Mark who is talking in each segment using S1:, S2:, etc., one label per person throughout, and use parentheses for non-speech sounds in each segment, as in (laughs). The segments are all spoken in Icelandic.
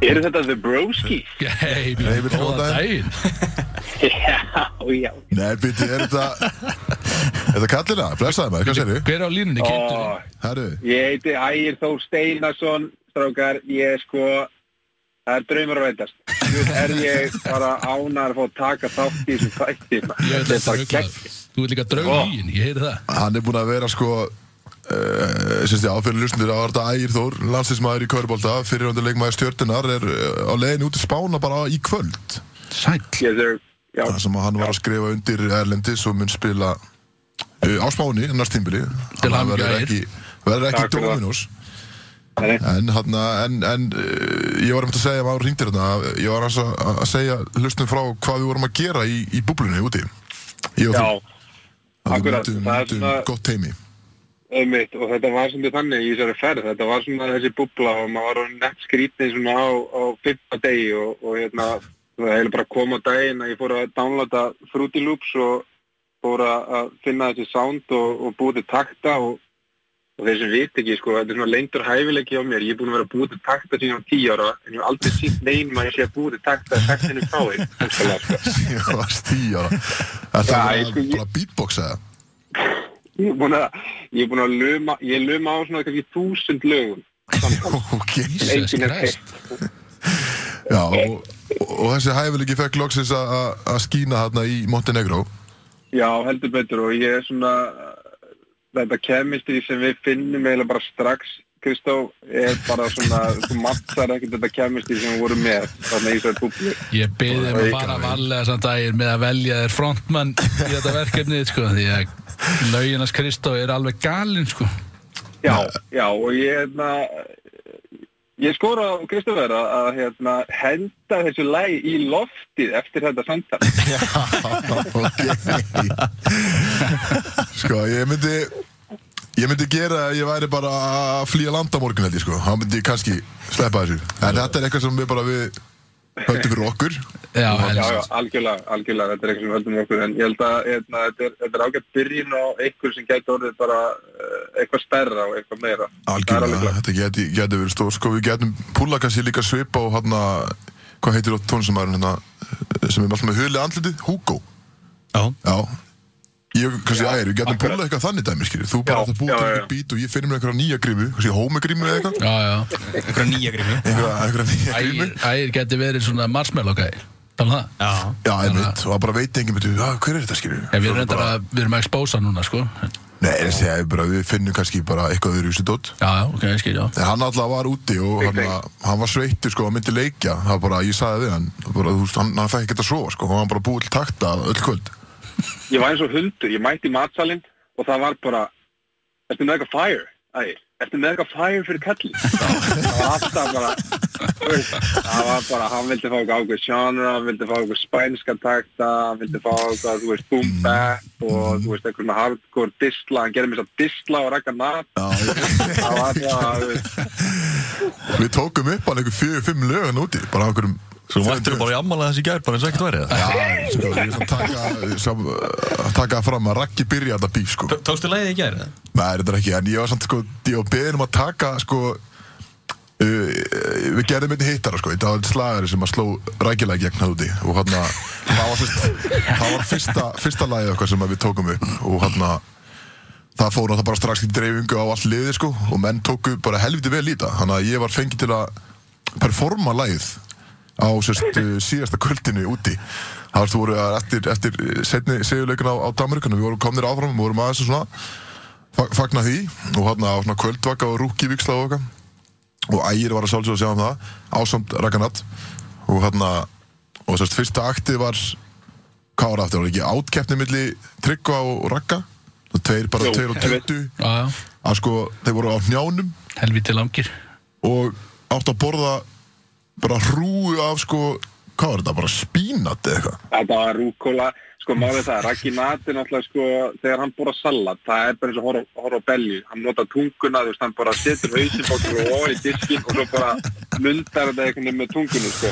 S1: Eru þetta The Broski?
S2: Hei,
S3: Heimir, góðan
S2: góðan daginn
S1: (laughs) Já, já.
S3: Nei, býtti, er
S2: (laughs)
S3: þetta Er þetta kallina? Blessaði maður, hvað segir
S2: Hver á línunni
S1: Ó,
S2: kynntur?
S3: Herru,
S1: ég heiti Ægir Þór Steinarsson, strákar, ég er sko, það er draumur að veitast. Nú er ég bara ánar að fá að taka þátt í þessum þætti. maður.
S2: Ég veit
S1: Þetta
S2: að
S1: er
S2: það
S1: bara
S2: er
S1: gegn.
S2: auðvitað Þú ert líka draug í hinn, ég heyri það
S3: hann er búinn að vera sko Uh, sérst ég áfyrir lusnir að Arda Ægir Þór landsinsmaður í Körbólda, fyrirhundur leikmaður stjörtunar er uh, á leiðin út í Spána bara í kvöld
S2: Sæll
S1: Yes, sir. Já,
S3: þar sem að hann var að skrifa undir Erlendi sem mun spila uh, á Spáni næst tímbili
S2: Til
S3: Hann
S2: hamingju,
S3: verður
S2: Ægir.
S3: ekki, verður ekki
S1: Takk fyrir það.
S3: Dominos
S1: það er
S3: en, hana, en, en uh, ég var einmitt að segja maður hringdir hérna, ég var aðeins að að segja lusnum frá hvað við vorum að gera í, í búblunni úti ég
S1: Já,
S3: og þú, að við
S1: akkurat. Það
S3: myndum,
S1: er
S3: myndum
S1: svona-
S3: gott heimi
S1: Einmitt, og þetta var sem þið þannig í þessari ferð, þetta var svona þessi bubla og maður var orðinn nett skrítið svona á, á fyrsta degi og, og hérna, það hefði bara kom á daginn að ég fór að downloada Fruity Loops og fór að að finna þessi sound og, og búið til takta og, og þeir sem vit ekki, sko, þetta er svona lengtur hæfileiki á mér, ég er búin að vera að búið til takta síðan á 10 ára, en ég hef aldrei sítt neynum að ég sé að búið til takta taktinu frá þér, hugsanlega, sko.
S3: (laughs) ég var stíja það
S1: Já,
S3: var
S1: ég sko-
S3: bara beatbox eða
S1: Ég er búin að, ég er búin að luma, ég luma á svona kannski þúsund lögum. samtals.
S3: ok,
S2: Jesus
S1: Enginn er
S2: Christ.
S3: já og, og, og þessi hæfileiki fekk loksins að- að að skína hérna í Montenegro
S1: Já, heldur betur og ég er svona þetta kemistri sem við finnum eiginlega bara strax, Kristó er bara svona, þú mattsar ekkert þetta kemistri sem við vorum með þannig að ég sagði búbli
S2: Ég beði þeim að
S3: Auka
S2: fara
S3: við.
S2: varlega samt dagir með að velja þér frontmann í þetta verkefni sko, því að lauginans Kristó er alveg galinn sko.
S1: Já, já og ég hérna ég skora á Kristófer að, að hérna, henda þessu læg í loftið eftir þetta samtal
S3: ok sko ég myndi ég myndi gera að ég væri bara að flýja land á morgun held ég sko þá myndi ég kannski sleppa þessu en þetta er eitthvað sem við bara við höldum fyrir okkur
S2: Já,
S1: Já, já,
S2: helst
S1: algjörlega, algjörlega, þetta er eitthvað sem við höldum okkur en ég held að hérna, þetta er, þetta er ágætt byrjun á einhver sem gæti orðið bara eh, eitthvað stærra og eitthvað meira Það er alveg
S3: algjörlega,
S1: klárt.
S3: þetta geti, geti verið stór sko við getum púla kannski líka svipa og hann hvað heitir það tónlistamæðurinn hérna sem er alltaf með hulið andliti Hugo
S2: Já.
S3: já Ég, kannski,
S1: Já,
S3: ægir, við getum
S1: akkurat.
S3: púlað eitthvað þannig dæmi, skiljið, þú bara
S1: Já,
S3: átt að
S1: já,
S3: búa til
S1: já,
S3: einhver
S1: já.
S3: bít og ég finnir mér einhverja nýja grímu, kannski hómegrímu eða eitthvað,
S2: Já, já
S4: Einhverja nýja grími
S5: (laughs)
S3: einhverja, einhverja nýja grímu.
S2: Ægir, ægir geti verið svona marshmallow gæ Tala um það?
S4: Já
S3: Já,
S5: Hérna.
S3: einmitt, og það bara veit enginn betur, já, hver er þetta, skilur
S2: Ef við, reyndar að, við erum að expósa núna sko.
S3: Nei, þessi, ég, bara, við finnum kannski bara eitthvað öðru í dótt
S2: Já, já, ok, ég skil, já
S3: En hann alltaf var úti og hann, hann var sveittur, sko, hann myndi leikja Það var bara, ég sagði við hann, bara, þú veist, hann, hann fekk ekkert að sofa, sko Hann var bara búið til takta öll kvöld
S1: Ég var eins og hundur, ég mætti í matsalinn og það var bara Ertu með eitthvað fire? Æ, ertu með eitthvað fire fyrir kallin? það var alltaf bara þú veist, Það var bara, hann vildi fá eitthvað ákveð genre, hann vildi fá eitthvað spænska takta hann vildi fá eitthvað, þú veist, boom bap og þú veist, eitthvað svona hardcore disla hann gerði mér svo disla og rakka nat það var bara, þú veist
S3: Við tókum upp hann einhver fjögur, fimm lögan úti, bara á einhverjum
S5: Svo mættur bara í ammala þessi gær, bara eins og ekkert værið
S3: Já, sko, ég er svona að taka, sam, að taka það fram að Raggi byrja þetta bíf, sko
S4: Tókstu lægið í gæri?
S3: Nei, þetta er ekki, en ég var samt sko, ég var beðin um að taka sko uh, við gerðum einni hittara sko, þetta var einn slagari sem að sló rækilega gegn hann úti og hann að það var, fyrst, það var fyrsta, fyrsta lagið okkar sem að við tókum upp og hann að það fór náttúrulega bara strax í dreifingu á allt liði sko og menn tóku bara helviti vel í þetta þannig að ég var fengið til að performa lagið á sérst, uh, síðasta kvöldinu úti það varst voru að eftir, eftir setni segjuleikuna á, á Dameríkanu, við vorum komnir áfram við vorum aðeins að svona fa- fagna því og hérna á svona kvöldvaka og rúkivíksla og okkar og ægir var að sjálfsögja að sjá um það ásamt Rakanat og hérna og sérst fyrsta aktið var hvað var aftur, var ekki átkeppni milli Tryggva og, og Rakka og tveir bara
S1: Jú,
S3: tveir og
S1: ég veit.
S3: tuttu
S2: Já, já,
S3: að sko þeir voru á njánum
S2: helviti langir
S3: og átt að borða bara hrúu af sko hvað var þetta, bara spínat eða eitthvað
S1: Þetta var rúkóla, sko málið er það, Raggi Nati náttúrulega sko, þegar hann borða salat, það er bara eins og horf, horf á belju, hann nota tunguna, þú veist, hann bara setur hausinn bóttur og ofan í diskin og svo bara mundar þetta einhvern veginn með tungunni, sko.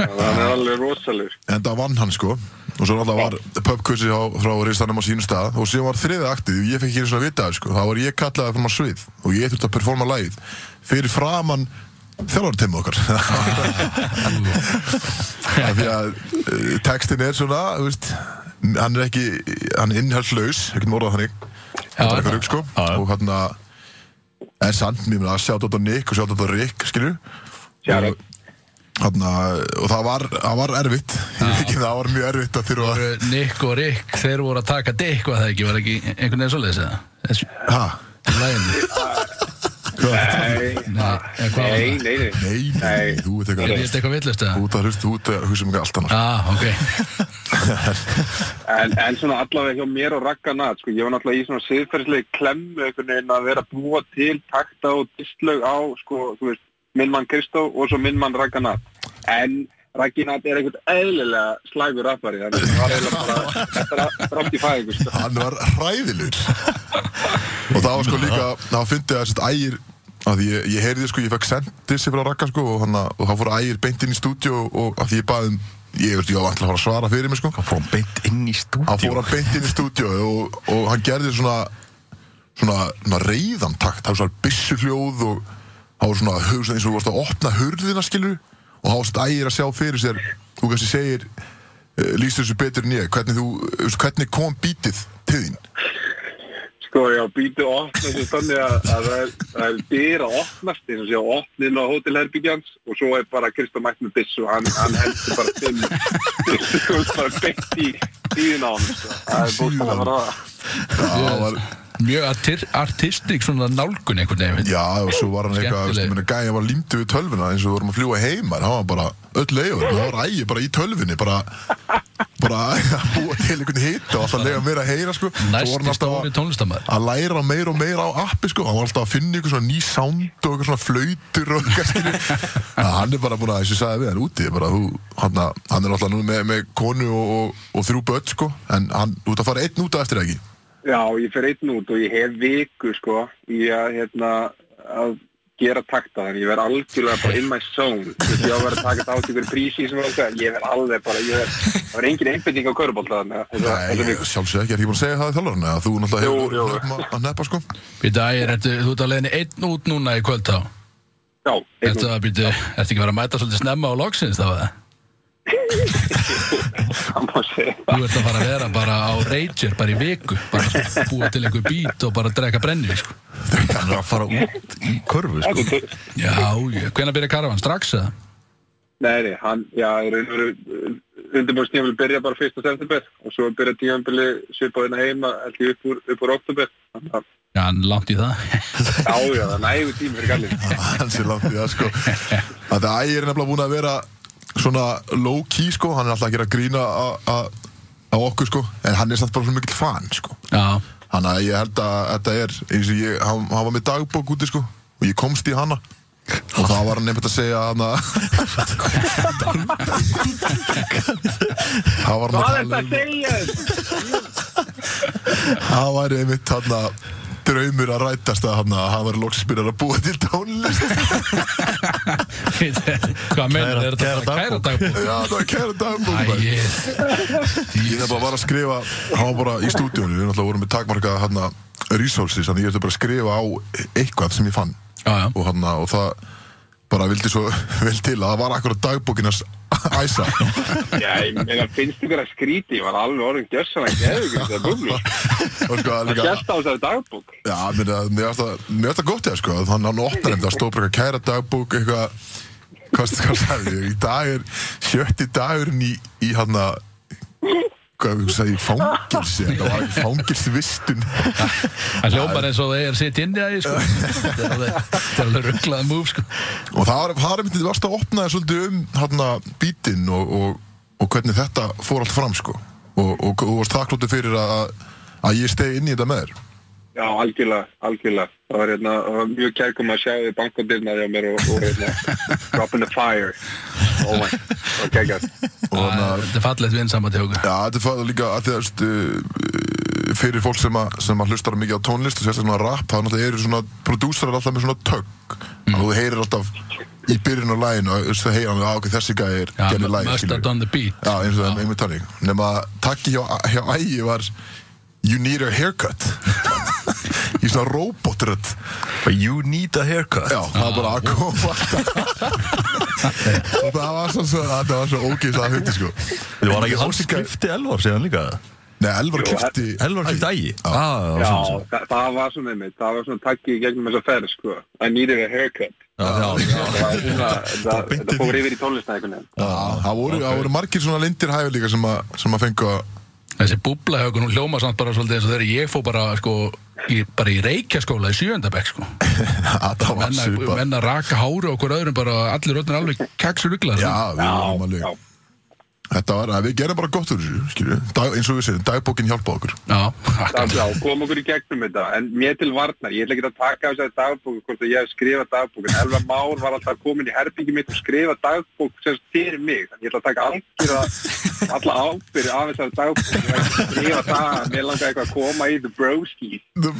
S1: Þannig að hann er alveg rosalegur.
S3: en það vann hann sko og svo alltaf var pubkvissi frá reistanum á sínum stað og síðan var þriðið aktið og ég fekk ekki einu svona að vita það sko, þá var ég kallaði fram á svið og ég þurfti að performa lagið fyrir framann þjálfartimmu okkar (laughs) af því að uh, textin er svona þú veist, hann er ekki, hann er innhaldslaus við getum orðað þannig
S2: Já,
S3: þetta er
S2: já.
S3: eitthvað rugg sko
S5: já.
S3: og hann að en samt, mér meina að sjá þetta á Nick og sjá þetta á Rick skilur
S1: Shout out.
S3: og, hann, og það var, það var erfitt ég veit ekki (laughs) það var mjög erfitt að þurfa að
S2: Nick og Rick, þeir voru að taka Dick var það ekki, var ekki einhvern veginn svoleiðis eða? Þessu,
S3: ha,
S2: í læginu
S3: hvað,
S1: Nei,
S2: Nei, eða hvað
S1: nei,
S2: var það?
S1: nei, nei.
S3: nei, nei,
S1: Nei.
S3: nei, þú veit
S2: Er
S3: eitthvað
S2: þetta eitthvað villust eða?
S3: út að hlusta, út að hugsa um eitthvað allt annars
S2: Ah, ok,
S1: En, en svona allavega hjá mér og Ragga Nat, sko, ég var náttúrulega í svona siðferðislega klemmu einhvern veginn að vera að búa til takta og dislög á, sko, þú veist, minn mann Kristó og svo minn mann Ragga Nat. En Raggi Nat er einhvern eðlilega slægur rappari, þannig að það var eiginlega bara, þetta er rátt í fæðingu, sko.
S3: hann var hræðilur og það var sko líka það fyndi að sérst ægir að því ég, ég heyrði sko, ég fekk sendir sér frá Raka sko og hann og þá fór ægir beint inn í stúdíu og að því ég baði um, ég veist, ég var vantlega að fara að svara fyrir mig sko
S5: Fór hann beint inn í stúdíu
S3: hann fór hann beint inn í stúdíu og, og hann gerði svona svona, svona reyðan takt, það var svona byssu hljóð og það var svona hugsa eins og þú varst að opna hurðina skilur og það var svona ægir að sjá fyrir sér þú kannski segir eh, lýst þessu betur en ég, hvernig, þú, þú veist, hvernig kom bítið til þín
S1: Sko, já, býtu opna þessu þannig að, að það er- það er dyr að opnast eins og sé að opna inn á hótelherbyggjans og svo er bara Kristó mætt með byssu og hann, hann heldur bara til Kristó bara beint í tíðin á hann sko. það er búin að vera það
S3: Já, var,
S2: mjög artir, artistik svona nálgun einhvern veginn
S3: já, og svo var hann eitthvað,
S2: Skemmtileg.
S3: veist, ég meina, gæja var límdu við tölvuna eins og við vorum að fljúa heima, það var bara öll leiður, það var ægi bara í tölvunni, bara, bara (laughs) að búa til einhvern hitt og alltaf leiða meira að heyra, sko. Svo var hann
S2: Næsti
S3: alltaf að-
S2: stóri tónlistamæður
S3: að læra meira og meira á appi sko, hann var alltaf að finna ykkur svona ný sound og ykkur svona flautur og eitthvað skilur Að hann er bara búin að, eins og ég sagði við hann úti bara, þú, hann, að- hann er alltaf nú með, með konu og, og, og þrjú börn sko en hann, þú ert að fara einn út af eftir eða ekki
S1: Já, ég fer einn út og ég hef viku sko í að, hérna, að gera takta þannig ég verð algjörlega bara in my zone Þú veist, ég á að vera að taka þátt í ykkur prísi sem okkar ég verð alveg bara, ég verð það var engin einbending á körubólta þannig að þessa-
S3: Nei,
S1: þessa viku.
S3: sjálfsög ekki, er ekki búin að segja það í þjálfarinn eða þú náttúrulega
S1: Jú,
S3: hefur
S1: jú.
S3: verið að neppa- að neppa sko
S2: Býta ægir, ertu, þú ert að leiðinni einn út núna í kvöld þá
S1: Já, einn
S2: Ertu
S1: út.
S2: að býta, ertu ekki að vera að mæta svolítið snemma á loksins þá eða?
S1: Það má segja það.
S2: Þú ert að fara að vera bara á Rager bara í viku, bara að búa til einhver bít og bara að drekka brenni sko.
S5: Hann er að fara út í körfu sko.
S1: Þetta er-
S2: Já, já, hvenær byrja karavan? Strax eða?
S1: Nei, nei, hann, já, í raun og veru undirbúrstíðanbili byrja bara 1. september og svo byrja tíðanbili svipaðina heima alltaf upp úr, upp úr oktober þannig að,
S2: Já, en langt í það
S1: já, já, það er nægur tími fyrir gallin
S3: hans er langt í það sko að það ægir er nefnilega búin að vera svona low key sko, hann er alltaf að gera grína á okkur sko en hann er samt bara svona mikill fan sko
S2: Já,
S3: Þannig að ég held að þetta er eins og ég, hann, hann var með dagbók úti sko og ég komst í hana og það var hann nefnt að segja hann að það var hann
S1: Hvað
S3: að
S1: er þetta
S3: tala
S1: að
S3: um
S1: segja þér?
S3: það var einmitt hann að draumur að rætast að hann að hann var loksbyrjar að búa til tónlist
S2: hvað mennur, er þetta
S5: Kæra-
S2: bara
S5: kæra
S2: kæra dagbúk?
S3: já það var kæra dagbók maður.
S2: Ægir,
S3: ég nefnilega bara var að skrifa hann var bara í stúdíónu, við náttúrulega vorum með takmarka hann að resources, þannig ég ætti bara að skrifa á eitthvað sem ég fann
S2: já, já
S3: og, hana, og það bara vildi svo (laughs) vel til að það var akkur dagbókinas æsa (laughs)
S1: Já, ég meina, finnst ykkur að skríti, ég var alveg orðin gjössan að geða ykkur þetta bublu
S3: og sko það er líka
S1: Gjösta á þessari dagbúk
S3: já, mér finnst það- mér finnst það- mér finnst það gott eða sko þannig að hann opnar þeim, það stóð bara eitthvað kæra dagbók eitthvað, hvað, hvað sagði ég í dag er sjötti dagurinn í, í hann að hvað ég sagði, fangilsi það var fangilsvistun
S2: Það hljómar eins og það er sitt inn í það, sko. Þetta er alveg- þetta er alveg rugglað múf, sko.
S3: og það var- það er myndið varst að opna þér svolítið um hann að bítinn og, og, og hvernig þetta fór allt fram sko og, og, og varst þakklótið fyrir að, að ég stegi inn í þetta með þér
S1: Já, algjörlega, algjörlega Það var, hérna, það var mjög kærkum að sjá því bankodirnaði á mér og, og hérna, drop in the fire Oh my, ok, gæt
S3: og hann að
S2: Þetta er fallegt vinsamma til okkur.
S3: Já, þetta er fæður líka að því að veist, uh, fyrir fólk sem, að, sem að hlustar mikið á tónlist og sérstaklega rap, þá náttúrulega eru svona prodúsarar alltaf með svona tögg mm. og þú heyrir alltaf í byrjun á læginu og það heyrir hann, að "Ah, ok, þessi gæði er
S2: Já,
S3: gerði lægin,
S2: must have done the beat.
S3: Já, eins og það er einmitt tannig nema að takki hjá, hjá ægi var You need a haircut (laughs) í svona robotrödd
S5: But you need a haircut
S3: Já, það var bara að koma alltaf Það var svo, svo það var svo ógeins að hundi sko
S5: Þið var ekki
S3: Ég
S5: hans
S3: óska-
S5: skrifti Elvar síðan líka
S3: Nei, Elvar
S1: Jú,
S3: kipti
S5: Elvar skrifti ægi ah,
S1: Já,
S5: já,
S1: það, það var svona einmitt, það var svona takki í gegnum þessa ferð, sko. I needed a haircut.
S5: já, já.
S1: Það var svona, það,
S5: beint
S1: það
S5: í
S1: fór yfir í tónlistina einhvern veginn.
S3: Það voru, það voru margir svona lindir hæfi líka sem að, sem að fengu að (laughs)
S2: Þessi búblahaugun, hún hljóma samt bara svolítið eins og þegar ég fór bara, sko, í, bara í reykjaskóla í sjöndabæk, sko.
S3: að það var
S2: Menna,
S3: svipað
S2: menna raka hári og okkur öðrum bara, allir öðrum alveg sko. keksur ykla.
S3: Já, við vorum alveg
S1: já.
S3: Þetta var, að við gerum bara gott úr þessu, skilju Dag, eins og við segjum, dagbókin hjálpa okkur
S2: Já,
S1: Það,
S2: akkurat.
S1: já, kom okkur í gegnum þetta, en mér til varnar, ég ætla ekki að taka af þessari dagbóku, hvort að ég hef skrifað dagbókin. Elva Már var alltaf komin í herbyggi mitt og skrifað dagbók sem sagt fyrir mig, þannig ég ætla að taka algjörða, alla ábyrði af þessari dagbók, ég var ekki að skrifa það, að mér langar eitthvað að koma í the broski.
S3: The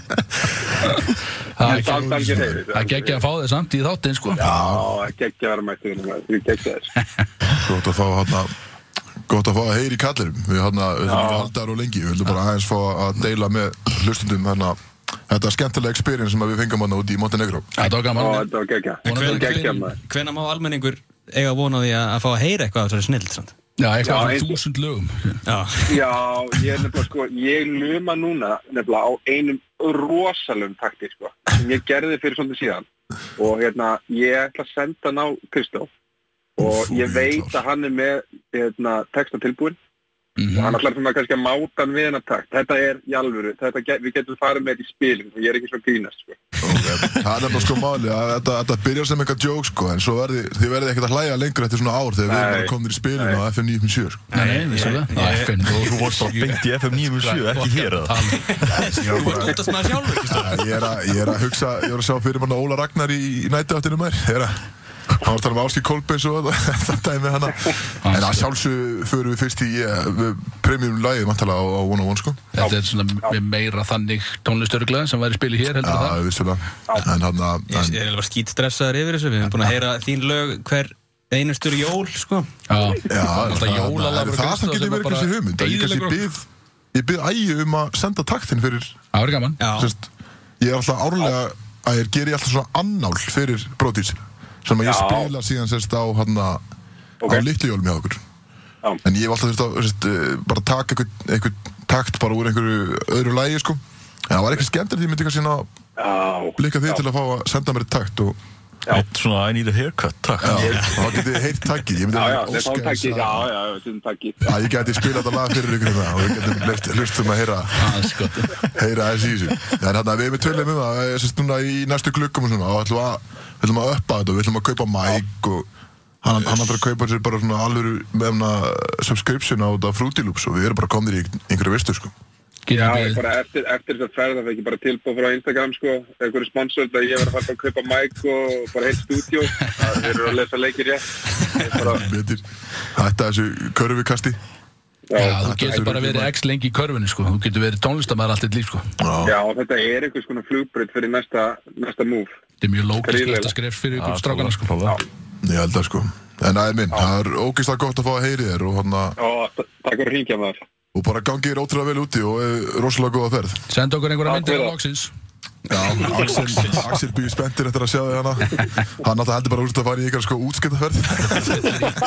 S3: bro-
S2: Það
S1: En samt alveg hreinu.
S2: Það geggja að fá þið samt í þáttinn, sko.
S1: Já, geggja að vera mættu hérna, maður. Ég geggja þess.
S3: Gott að fá hana Gott að fá að heyri í kallirum Við hana, við höfum ekki haldar og lengi Við höfum bara aðeins fá að deila með hlustundum hana Þetta er skemmtilega experience sem að við fengum hana út í Montenegro
S2: Þetta
S1: Ó,
S2: var gaman.
S1: þetta var geggja.
S2: En hvenær-
S1: Geggja maður.
S4: Hvenær má almenningur eiga vona því að að fá að heyra eitthvað af þessari snild samt?
S2: Já, eitthvað
S1: Já,
S2: svona
S1: eins-
S2: þúsund lögum.
S4: Já,
S1: Já, ég er nefnilega sko, ég luma núna nefnilega á einum rosalum takti sko, sem ég gerði fyrir svona síðan og hérna, ég ætla að senda hann á Kristof og
S3: Úff,
S1: ég
S3: úff,
S1: veit
S3: Kristján.
S1: að hann er með hérna, texta tilbúin og hann ætlar svona kannski að máta hann við hennar takt þetta er í alvöru, þetta get, við getum farið með þetta í spilin og ég er ekki svona grínast sko.
S3: Það er nefnilega sko máli að þetta, þetta byrjar sem eitthvað joke sko en svo verði, þið verði ekkert að hlæja lengur eftir svona ár þegar við erum
S1: Nei.
S3: bara komin í spilinu á FM 957 sko.
S2: Nei, nei, vissulega. Það er finn.
S5: Þú varst bara beint í FM 97, ekki hér eða?
S3: Ég
S4: þú
S3: var
S4: ert
S3: bara-
S4: útast maður sjálfur, Kristó.
S3: Ég er að- ég er að hugsa, ég var að sjá fyrir manna Óla Ragnar í, í nættuáttinu mér Ég er að Hann var að tala um Áski Kolbeins og (laughs) þetta dæmi hana En að sjálfsög förum við fyrst í eh, premium lagið mantala á, á One on One sko
S2: Þetta er svona meira þannig tónlistörgla sem væri spilið hér heldur en það.
S3: Já, vissulega En hann að
S4: Ég ég er alveg skýt stressaður yfir þessu, við erum búin að heyra þín lög hver einustur jól, sko.
S2: Já,
S3: Já,
S2: alltaf
S3: er
S2: jólalafur
S3: það sem getur verið kannski hugmynd að Ég kannski byð Ég byð ægi um að senda taktin fyrir
S2: Það verður gaman
S4: Já,
S3: Sest, ég er alltaf árlega að ég geri alltaf svona annál fyrir brotis sem að ég
S1: Já.
S3: spila síðan sérst á hann
S1: Ok.
S3: á litlu hjólum hjá okkur
S1: Já.
S3: en ég hef alltaf þurft að sérst, eh, bara taka einhvern einhver takt bara úr einhverju öðru lægi sko en það var eitthvað skemmtilegt ég myndi kannski ná
S1: Já,
S3: líka því til að fá að senda mér takt og
S5: Eitt svona I need a haircut, takk
S3: já, þá getið þið heyrt takki ég myndi
S1: já, já,
S3: alveg
S1: þetta
S3: óska
S1: var takki,
S3: þess
S1: já,
S3: að-
S1: já, þetta var takki.
S3: að ég geti spilað þetta lag fyrir ykkur hérna og við getum leyft- hlustum að heyra
S2: Aðeins gott.
S3: heyra aðeins í þessu þannig að við erum með tölum um það sérst núna í næstu glukkum og svona og ætlum að, við ætlum að uppa þetta og við ætlum að kaupa mæk og hann, hann ætlar að kaupa sér bara svona alvöru með hann að subscription á þetta Fruity Loops og við erum bara komnir í einhverju vistu sko
S1: Já,
S2: Getum
S1: ég
S2: við
S1: bara eftir, eftir þess að ferða fekk ég bara tilbúið frá Instagram sko, einhverju sponsor að ég var að fara að kaupa mæk og bara heilt stúdíó það þeir eru að lesa leikir rétt Ég bara,
S3: betur þetta þessu körfikasti
S1: já,
S2: Já, þú
S3: þetta
S2: getur
S3: er
S2: bara verið
S3: bara-
S2: x lengi í körfunni sko Þú getur verið tónlistamæður allt eitt líf sko
S3: já,
S1: já, þetta er einhvers konar flugbröð fyrir næsta, næsta move
S2: Þetta er mjög lókist
S1: Gríðarlega.
S2: næsta skref fyrir ykkur strákana sko
S3: ég held að sko en aðeins minn, það er ógist að gott að fá að heyri þér og, hana,
S1: og takk fyrir að hringja maður
S3: og bara gangi þér ótrúlega vel úti og eh, rosalega góða ferð
S2: Senda okkur einhverja
S1: Já,
S2: myndir
S1: fyrir
S2: á
S1: það.
S2: loksins
S3: Já, Axel, Axel býður spenntir eftir að sjá þig hana Hann alltaf heldur bara úr þetta að fara í ykkar sko útskiptaferð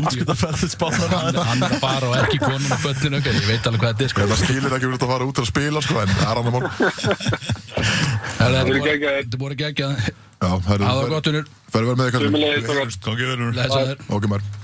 S5: Útskiptaferðið spánar
S2: Hann hann er að fara og ekki konun og börnin okkar Ég veit alveg hvað þetta er sko
S3: Það skilir ekki úr þetta að fara út að spila sko En það er annar mál
S2: Herra, Þetta
S1: Þetta
S2: er
S1: er
S2: búið-
S1: geggjað.
S2: þetta er búið að gegja
S3: Já, herru,
S2: Aða
S3: fer-
S2: gott unur
S3: fer að vera með þig
S1: Sömuleiðis,
S3: kallum
S1: strákar.
S5: Gangi verður
S2: Lesaður
S3: Ok, maður